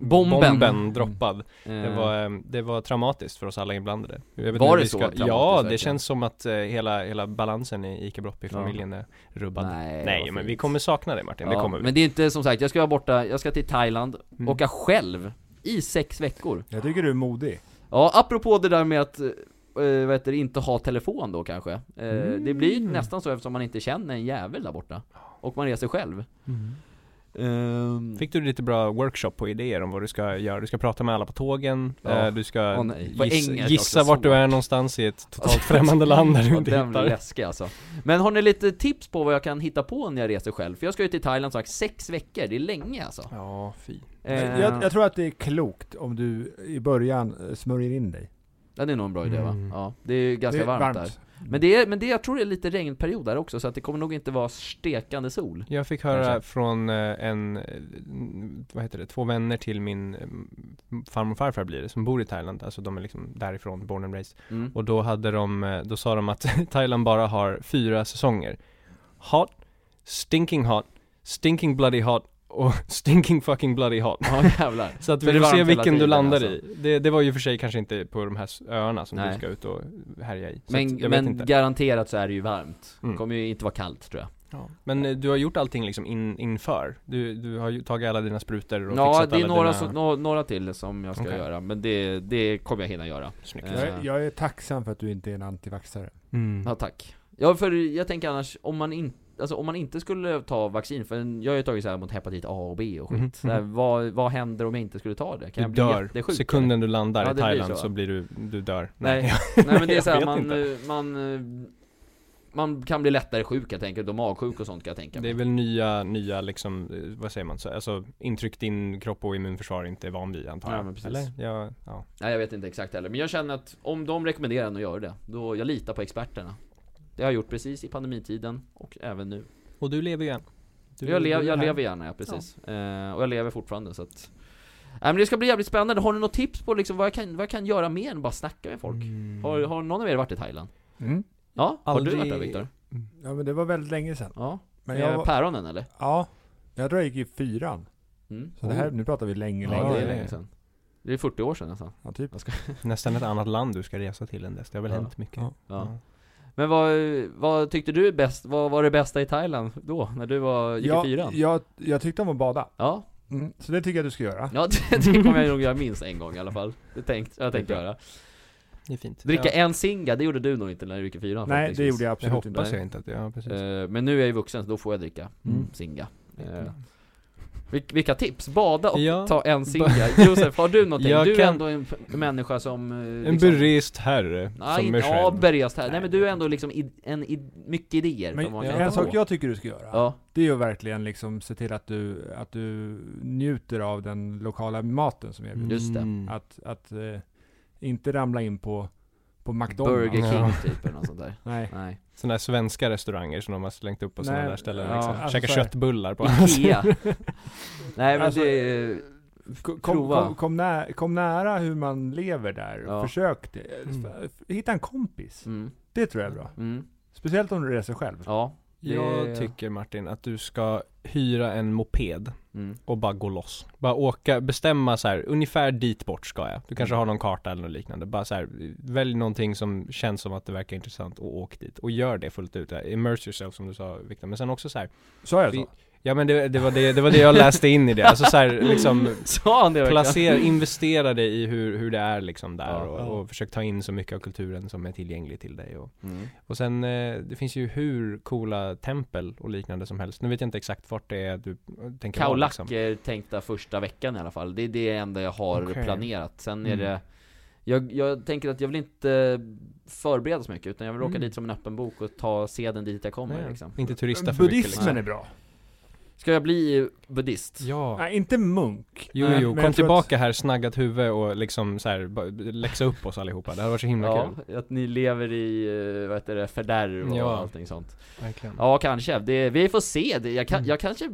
Bomben.
bomben droppad. Det
eh,
var, eh, det var traumatiskt för oss alla inblandade. Jag vet inte
Var
hur
det
vi
så traumatiskt
Ja, det
verkligen?
känns som att eh, hela, hela balansen i Ica Brottby-familjen är rubbad. Nej,
Nej, vad
men
fint.
vi kommer sakna dig Martin, det
Ja,
kommer vi.
Men det är inte som sagt, jag ska vara borta, jag ska till Thailand,
Mm.
åka själv i sex veckor.
Jag tycker du är modig.
Ja, apropå det där med att eh, vad heter det, inte ha telefon då kanske. Eh, Det blir
Mm.
ju nästan så eftersom man inte känner en jävel där borta. Och man reser själv.
Mm.
Ehm,
Fick du lite bra workshop på idéer om vad du ska göra? Du ska prata med alla på tågen,
Ja.
eh, du ska
Åh, nej. På
giss,
engelska
gissa
också,
vart du är
svårt.
någonstans i ett totalt främmande land där du
ja,
inte
den blir
hittar.
läskig alltså. Men har ni lite tips på vad jag kan hitta på när jag reser själv? För jag ska ju till Thailand som sagt sex veckor, det är länge alltså.
Ja, fy.
Ehm,
Jag, jag tror att det är klokt om du i början eh, smörjer in dig.
Den är nog en bra idé
Mm.
va? Ja, det är ju ganska
Det är
varmt, där. Men det är, men det, jag tror det är lite regnperiod där också, så att det kommer nog inte vara stekande sol.
Jag fick höra
Kanske.
från eh, en, eh, vad heter det, två vänner till min eh, farmor och farfar blir det, som bor i Thailand, alltså de är liksom därifrån, born and raised.
Mm.
Och då hade de, eh, då sa de att Thailand bara har fyra säsonger. Hot, stinking hot, stinking bloody hot och stinking fucking bloody hot.
Ja jävlar.
Så att
Så det
vi
är
får se
varmt hela
vilken du
tiden,
landar
alltså.
i. Det, det var ju för sig kanske inte på de här s- öarna som
Nej.
du ska ut och härja i. Så
Men,
att jag vet
men
inte.
garanterat så är det ju varmt.
Mm.
Kommer ju inte vara kallt tror jag.
Men eh, du har gjort allting liksom in, inför? Du, du har ju tagit alla dina sprutor och
Ja,
fixat
det är
alla
några,
dina...
så, nå- några till som jag ska
Okej.
göra, men det, det kommer jag hinna göra.
Snyggt.
Eh,
Jag är, jag är tacksam för att du inte är en antivaxxare.
Mm.
Ja tack. Ja för jag tänker annars, om man inte Alltså om man inte skulle ta vaccin, för jag har ju tagit så här mot hepatit A och B och skit.
Mhm.
Så här, vad, vad händer om jag inte skulle ta det? Kan
Du
jag bli
dör.
jättesjuk?
Sekunden du landar
Ja, det
i
blir
Thailand
så.
så, blir du, du dör.
Nej.
Nej.
eller? Nej men det är
Jag
så här,
vet
man,
inte.
eh, man, eh, man kan bli lättare sjuk jag tänker, då magsjuk och sånt kan jag tänka
Det är
mig.
väl nya, nya liksom, eh, vad säger man? Så, alltså intryck din kropp och immunförsvar inte är van vid antar
Ja,
jag.
men precis.
Eller? Ja, ja.
Nej jag vet inte exakt heller, men jag känner att om de rekommenderar en att göra det, då jag litar på experterna. Det har jag gjort precis i pandemitiden och även nu.
Och du lever ju än. Du,
jag, lev,
du är
jag
här.
lever gärna, ja precis. Eh, och jag lever fortfarande så att... Nej men det ska bli jävligt spännande, har ni något tips på liksom vad jag kan, vad jag kan göra mer än bara snacka med folk?
Mm.
Har, har någon av er varit i Thailand?
Mm.
Ja, har du
Aldrig-
varit där Viktor?
Ja men det var väldigt länge sedan.
Ja,
Men
Med
jag, var-
päronen eller?
ja, jag tror jag gick i fyran.
Mm.
Så det här, nu pratar vi länge,
Ja,
länge.
det är
länge.
länge sedan. Det är 40 år sedan alltså. nästan.
Ja, typ.
Nästan ett annat land du ska resa till än dess. Det har väl
Ja.
hänt mycket.
Ja.
Ja. Men vad, vad tyckte du är bäst, vad var det bästa i Thailand då? När du var, gick i fyran?
Jag, jag, jag tyckte om att bada.
Ja,
Mm. Så det tycker jag du ska göra.
ja det, det kommer jag nog göra minst en gång i alla fall. Det tänkt, jag tänkte göra.
Det är fint.
Dricka
ja.
en singa, det gjorde du nog inte när du gick i fyran
Nej, det gjorde jag
Jag
absolut inte.
hoppas jag inte att, ja precis.
Eh, Men nu är jag ju vuxen så då får jag dricka
Mm.
singa. Eh,
Ja.
vil- vilka tips? Bada och
Ja.
ta en singa. Josef, har du någonting?
Jag
du är
kan-
ändå en f- människa som... eh,
En
liksom-
berest herre
Nej,
som mig
ja,
själv.
berest här. Nej
Nej,
men
det
du
vet
är ändå liksom i, en, i, mycket idéer
Men
som man
ja,
kan
en
ta
sak
på.
jag tycker du ska göra,
Ja,
det är ju verkligen liksom se till att du, att du njuter av den lokala maten som erbjuds.
Just det.
Mm.
Att, att eh, inte ramla in på, på McDonalds.
Burger King
Ja.
typ eller något sånt där.
Nej.
Nej.
Sådana här svenska restauranger som de har slängt upp på
Nej,
sådana där ställen
ja,
liksom.
alltså
Käka
så här-
köttbullar på
Ikea. Nej men
Alltså,
det är...
Kom,
Prova.
kom, kom, nä, kom nära hur man lever där.
Ja.
Försök det.
Mm.
F- Hitta en kompis.
Mm,
Det tror jag är bra.
mm,
Speciellt om du reser själv.
ja. Det-
Jag tycker Martin att du ska hyra en moped
Mm.
och bara gå loss. Bara åka, bestämma så här, ungefär dit bort ska jag. Du kanske
Mm.
har någon karta eller något liknande. Bara så här, välj någonting som känns som att det verkar intressant och åk dit. Och gör det fullt ut. Immerse yourself som du sa Viktor. Men sen också så här,
Sa jag
Vi-
så?
ja men det, det, var det, det var det jag läste in i det. Alltså så här, liksom
Sa han det verkligen?
Placera, investera dig i hur, hur det är liksom där
Ja.
Ja.
och, och försök ta in så mycket av kulturen som är tillgänglig till dig och,
Mm.
och sen eh, det finns ju hur coola tempel och liknande som helst. Nu vet jag inte exakt vart det är du eh, tänker vara,
Kaolack är tänkta första veckan i alla fall. Det är det enda jag har
Okej.
planerat. Sen är
Mm.
det... Jag, jag tänker att jag vill inte förbereda så mycket, utan jag vill åka
Mm.
dit som en öppen bok och ta seden dit jag kommer
Nej,
liksom.
Inte turista för mycket
Buddhismen
liksom.
är bra.
Ska jag bli buddhist?
Ja.
Nej, inte munk.
Jo,
Men-
jo,
men jag
kom
tror
tillbaka här, snaggat huvud och liksom så här, bara läxa upp oss allihopa. Det hade varit så himla
Ja,
kul.
att ni lever i, eh, vad heter det, fördärv och
Ja.
allting sånt.
Verkligen.
Ja, kanske. Det, vi får se. Det, jag, kan,
Mm.
jag kanske...
Att,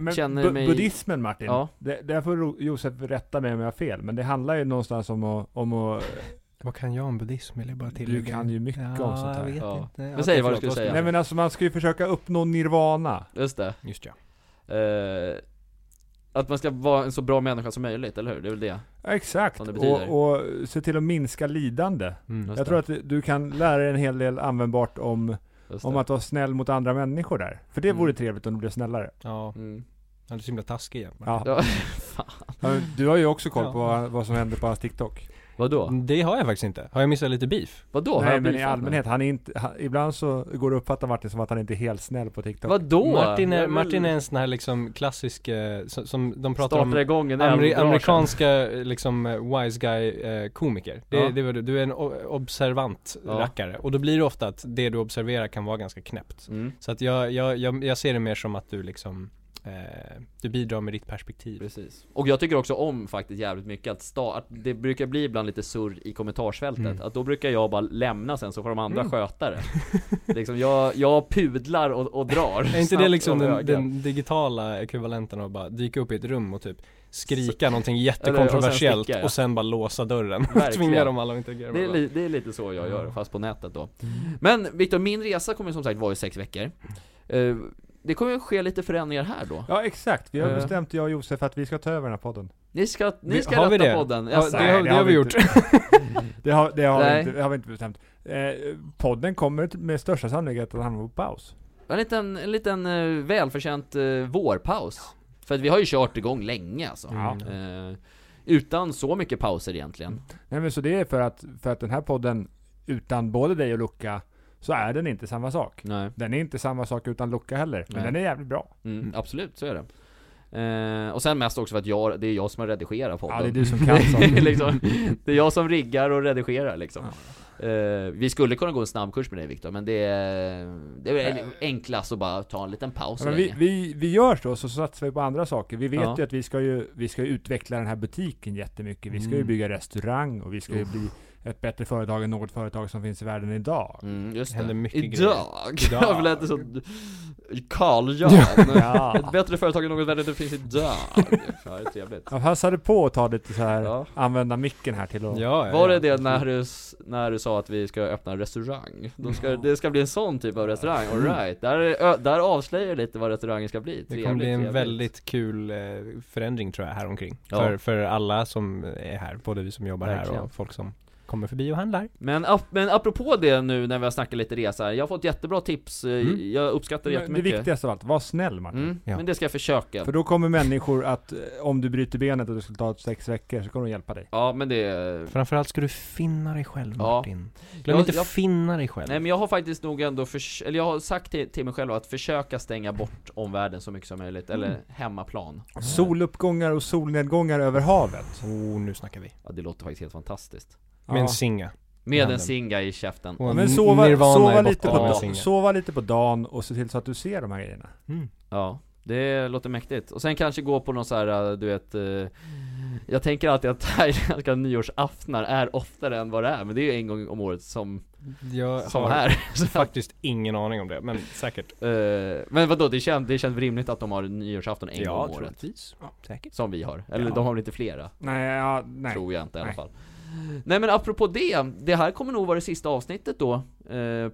men
känner
bu-
mig-
Buddhismen Martin,
Ja.
det, där får Ro- Josef rätta mig om jag har fel, men det handlar ju någonstans om att, om att
Vad kan jag om buddhism vill jag bara tillägga.
du kan ju mycket om sånt här.
Ja.
inte.
Men
Okej,
säg vad du
förlåt,
skulle säga.
jag
Nej men alltså man ska ju försöka uppnå nirvana.
Just det.
Just ja.
Eh, att man ska vara en så bra människa som möjligt, eller hur? Det är väl det?
Ja, Exakt,
Vad det betyder.
och, och se till att minska lidande.
Mm.
Just
Jag tror att du kan lära dig en hel del användbart om,
Just
om
det.
att vara snäll mot andra människor där. För det
Mm.
vore trevligt om du blev snällare.
Ja,
Mm.
han är så himla taskig igen.
Ja.
Ja,
Ja, men Du har ju också koll på
Ja.
vad, vad som händer på hans TikTok.
vadå?
Det har jag faktiskt inte. Har jag missat lite beef?
Vadå? Har
Nej
jag
men i
blivit
allmänhet, han är inte, han, ibland så går det att uppfatta Martin som att han inte är helt snäll på TikTok.
Vadå?
Martin,
Jag
är,
vill-
Martin är en sån här liksom klassisk, eh, som, som de pratar
Startar
om
igång en
Ameri
jävla garage.
amerikanska eh, liksom eh, wise guy eh, komiker. Det,
Ja.
det var du, du är en o- observant
Ja.
rackare. Och då blir det ofta att det du observerar kan vara ganska knäppt.
Mm.
Så att jag, jag, jag, jag ser det mer som att du liksom eh, du bidrar med ditt perspektiv.
Precis. Och jag tycker också om faktiskt jävligt mycket att, sta- att det brukar bli ibland lite surr i kommentarsfältet.
Mm.
Att då brukar jag bara lämna sen så får de andra
Mm.
sköta det. liksom jag, jag pudlar och, och drar.
Är inte det
snabbt
liksom
åt
den,
höger.
den digitala ekvivalenten av bara dyka upp i ett rum och typ skrika någonting
Eller- och sen
jättekontroversiellt
sticka, ja.
och sen bara låsa dörren och
Verkligen.
tvinga dem alla att interagera
Det
med
är,
varandra.
li, det är lite så jag gör,
Ja. Mm.
fast på nätet då. Men Viktor, min resa kommer som sagt vara i sex veckor. Eh, det kommer ju ske lite förändringar här då.
Ja exakt, vi har
Eh.
bestämt jag och Josef att vi ska ta över den här podden.
Ni ska, ni
Vi-
ska
har vi
rätta
det?
podden.
Ja,
Jag
det
sa-
Alltså, Nej,
har, det har vi gjort.
inte. Det har, det har, vi,
Nej.
inte, det har vi inte bestämt. Eh, podden kommer med största sannolikhet att hamna på paus.
En liten, en liten eh, välförtjänt eh, vårpaus. För att vi har ju kört igång länge alltså.
Ja.
Eh, utan så mycket pauser egentligen.
Nej men så det är för att, för att den här podden utan både dig och Luca så är den inte samma sak.
Nej.
Den är inte samma sak utan Luca heller, men
Nej.
den är jävligt bra.
Mm,
Mm.
Absolut, så är det. Eh, och sen mest också för att jag, det är jag som har redigerat podden.
Ja det är du som kan
Det är
sånt.
liksom, det är jag som riggar och redigerar liksom. Eh, vi skulle kunna gå en snabbkurs med dig Viktor, men det är, det är väl enklast att bara ta en liten paus så
Ja, men vi,
länge.
vi, vi gör så, så satsar vi på andra saker. Vi vet
Ja.
ju att vi ska ju, vi ska ju utveckla den här butiken jättemycket. Vi ska ju
Mm.
bygga restaurang och vi ska ju bli ett bättre företag än något företag som finns i världen idag.
Mm, just
Det händer
det.
mycket
Idag!
grejer.
Jag lät det så... Carl Jan!
Ja.
Ett bättre företag än något värre det finns idag. Ja, det är trevligt.
Jag passade på att ta lite så här,
Ja.
använda micken här till att...
Ja, ja,
Var det
ja.
det när du, s- när du sa att vi ska öppna en restaurang? Då ska, det ska bli en sån typ av restaurang, alright. Där, är- ö- där avslöjar jag lite vad restaurangen ska bli.
Det kommer bli en
trevligt.
väldigt kul eh, förändring tror jag här omkring.
Ja.
För, för alla som är här, både vi som jobbar här
Verkligen.
och folk som kommer förbi och handlar.
Men, ap- men apropå det nu när vi har snackat lite resa, jag har fått jättebra tips, eh,
Mm.
jag uppskattar det
Men det
jättemycket
viktigaste av allt, var snäll Martin.
mm,
Ja.
Men det ska jag försöka
För då kommer människor att, eh, om du bryter benet och du skulle ta sex veckor, så kommer de hjälpa dig.
Ja men det
Framförallt ska du finna dig själv
Ja.
Martin. Glöm
Jag-
inte
jag-
finna dig själv.
Nej men jag har faktiskt nog ändå, förs- eller jag har sagt till, till mig själv att försöka stänga bort omvärlden så mycket som möjligt, eller hemmaplan
Soluppgångar och solnedgångar över havet.
Oh, nu snackar vi.
Ja det låter faktiskt helt fantastiskt
Med
Ja.
en singa.
Med
Handen.
en singa i käften
Och
Men
n-
sova,
Nirvana
sova,
är
lite
borta
på
av
med
dagen.
en
da-
singa.
sova lite på dagen och se till så att du ser de här grejerna.
Mm.
Ja, det låter mäktigt. Och sen kanske gå på någon så här, eh, du vet eh, Jag tänker alltid att thailändska nyårsaftnar är oftare än vad det är, men det är ju en gång om året som,
Jag
som
har
här Så att,
faktiskt ingen aning om det, men säkert.
eh, Men vadå, det känns, det känns rimligt att de har nyårsafton en gång om året?
troligtvis. Säkert.
Som vi har, eller
Ja.
de har väl inte flera?
Nej, ja, nej.
Tror jag inte i alla
Nej.
fall Nej men apropå det, det här kommer nog vara det sista avsnittet då eh,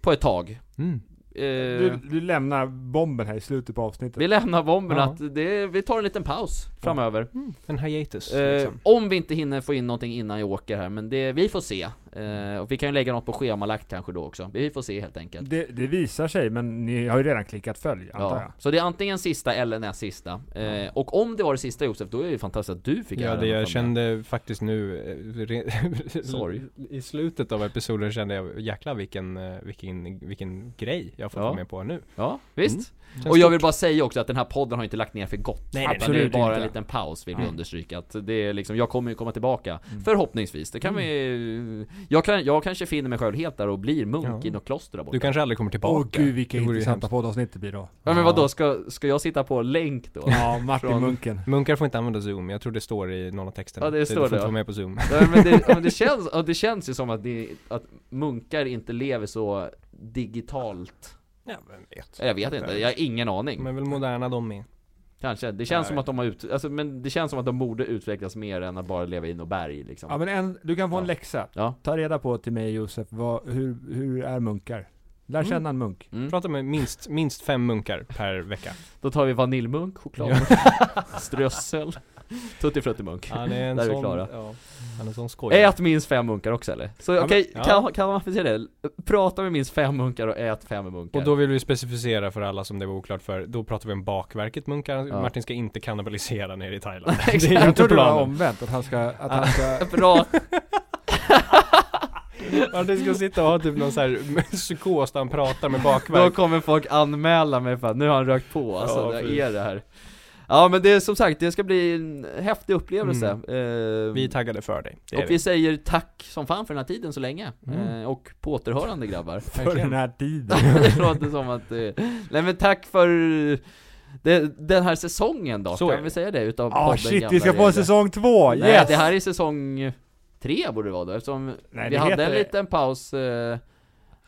På ett tag
Mm.
eh,
Du, du lämnar bomben här i slutet på avsnittet.
Vi lämnar bomben
Ja.
att det, vi tar en liten paus framöver
En hiatus
Mm. Eh,
liksom.
om vi inte hinner få in någonting innan jag åker här, men det, vi får se. Eh, och vi kan ju lägga något på schemalagt kanske då också. Vi får se helt enkelt.
Det, det visar sig, men ni har ju redan klickat följ, antar jag.
Ja. Så det är antingen sista eller näst sista. Eh, och om det var det sista Josef, då är det ju fantastiskt att du fick
Ja,
äran
det
att vara
jag
med.
kände faktiskt nu, eh, re-
Sorg.
i slutet av episoden kände jag jäklar vilken, eh, vilken, vilken grej jag får
Ja.
vara med på nu.
Ja, visst.
Mm. Känns
Och jag
stort.
vill bara säga också att den här podden har inte lagt ner för gott.
Nej,
Utan
nej,
Absolut
det är bara
inte.
en liten paus vill vi
Mm.
understryka. Att det är liksom, jag kommer ju komma tillbaka.
Mm.
Förhoppningsvis. Det
Mm.
kan vi... Jag, kan, jag kanske finner mig själv helt där och blir munk
Ja.
i något kloster där borta.
Du kanske aldrig kommer
Åh
tillbaka.
gud, vilka
Det vore ju
intressanta
hemskt.
poddavsnitt det blir då.
Ja men
Ja.
vadå, ska, ska jag sitta på länk då?
Ja, Martin
Från-
Munken.
Munkar får inte använda zoom, jag tror det står i någon av texterna.
Ja, det
Du-
står
Du
det,
får
ja.
inte vara med på zoom.
Nej, men det, men det, känns, ja, det känns ju som att, ni, att munkar inte lever så digitalt.
Ja, vem vet.
Eller Jag vet inte, jag har ingen aning.
Men väl moderna de med.
Kanske. Det känns
Nej.
som att de har ut, alltså, men det känns som att de borde utvecklas mer än att bara leva i något berg liksom.
Ja men en, du kan få en
Ja.
läxa.
Ja.
Ta reda på till mig Josef, vad, hur, hur är munkar? Lär
Mm.
känna en munk.
Mm.
Prata med minst, minst fem munkar per vecka.
Då tar vi vaniljmunk, choklad, strössel, tuttifruttimunk.
Ja, det är en
Där är vi
sån,
klara.
ja, han är en sån skoj.
Ät minst fem munkar också eller? Så
Ja,
okej,
men-
kan, kan man säga det? Prata med minst fem munkar och ät fem munkar.
Och då vill vi specificera för alla som det var oklart för, då pratar vi om bakverket munkar.
Ja.
Martin ska inte kannibalisera nere i Thailand.
Exakt.
det är
Jag
inte
tror det var
planen.
omvänt, att han ska, att han ska
Bra,
Martin ska sitta och ha typ någon så här psykos där han pratar med
Då
bakverk.
kommer folk anmäla mig för att nu har han rökt på, alltså
Ja,
det
precis.
är det här Ja men det är som sagt, det ska bli en häftig upplevelse
Mm.
Eh,
Vi är taggade för dig. Det är
Och vi säger tack som fan för den här tiden så länge,
Mm.
Eh, och på återhörande grabbar
för den här tiden.
Det låter som att, eh, nej men tack för Det, den här säsongen då,
Så är
kan
det.
vi säga det? Utav
Ah
podden
shit, vi
Gamla
ska få en
Regler?
säsong två!
Nej,
yes!
det här är säsong tre borde det vara då, eftersom
Nej,
vi
det
hade
heter
en
det.
liten paus eh,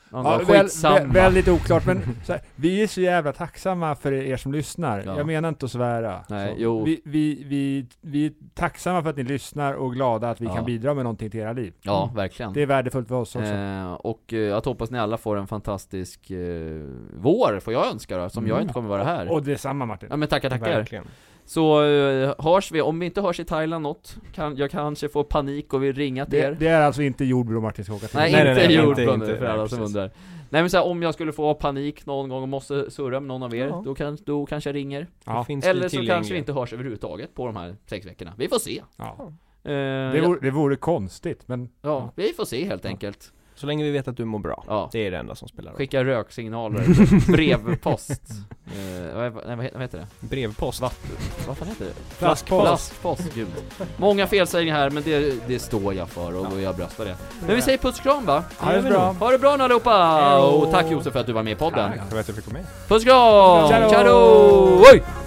någon
Ja,
gång,
väl,
skitsamma.
vä, väldigt oklart, men så här, vi är så jävla tacksamma för er som lyssnar.
Ja.
Jag menar inte att svära.
Nej,
så.
jo.
Vi, vi, vi, vi är tacksamma för att ni lyssnar och glada att vi
Ja.
kan bidra med någonting till era liv.
ja, verkligen.
Det är värdefullt för oss också.
Eh, och eh, jag hoppas ni alla får en fantastisk eh, vår, får jag önska då, som jag
Mm.
inte kommer vara här.
Och detsamma Martin.
ja men tackar, tackar.
Verkligen.
Så eh, hörs vi, om vi inte hörs i Thailand något, kan, jag kanske får panik och vill ringa till
Det,
er.
det är alltså inte jordbro Martin ska åka till.
Nej,
Nej, nej,
inte
nej,
jordbro
inte,
nu
inte.
för alla
Nej,
som
precis.
undrar. Nej men så här, om jag skulle få panik någon gång och måste surra med någon av er,
Ja.
då, kan, då kanske jag ringer.
Ja.
Då finns vi
Eller så kanske vi
tillgängliga.
inte hörs överhuvudtaget på de här sex veckorna. Vi får se.
Ja.
Eh,
Det, vore, det vore konstigt, men
Ja, vi får se helt enkelt.
Så länge vi vet att du mår bra.
Ja.
Det är det enda som spelar roll.
Skicka röksignaler, brevpost. Eh, vad, vad, nej, vad heter det?
Brevpost.
Vad fan heter det?
Flaskpost.
Flaskpost, gud. Många felsägningar här, men det, det står jag för och jag bröstar det. Men vi säger puss och kram va?
ha det så bra.
Ha det bra nu allihopa!
Hej då.
Och tack Josef för att du var med i podden.
Tack för att jag fick vara med.
Puss och kram!
Tja då.
Tja då! Oj!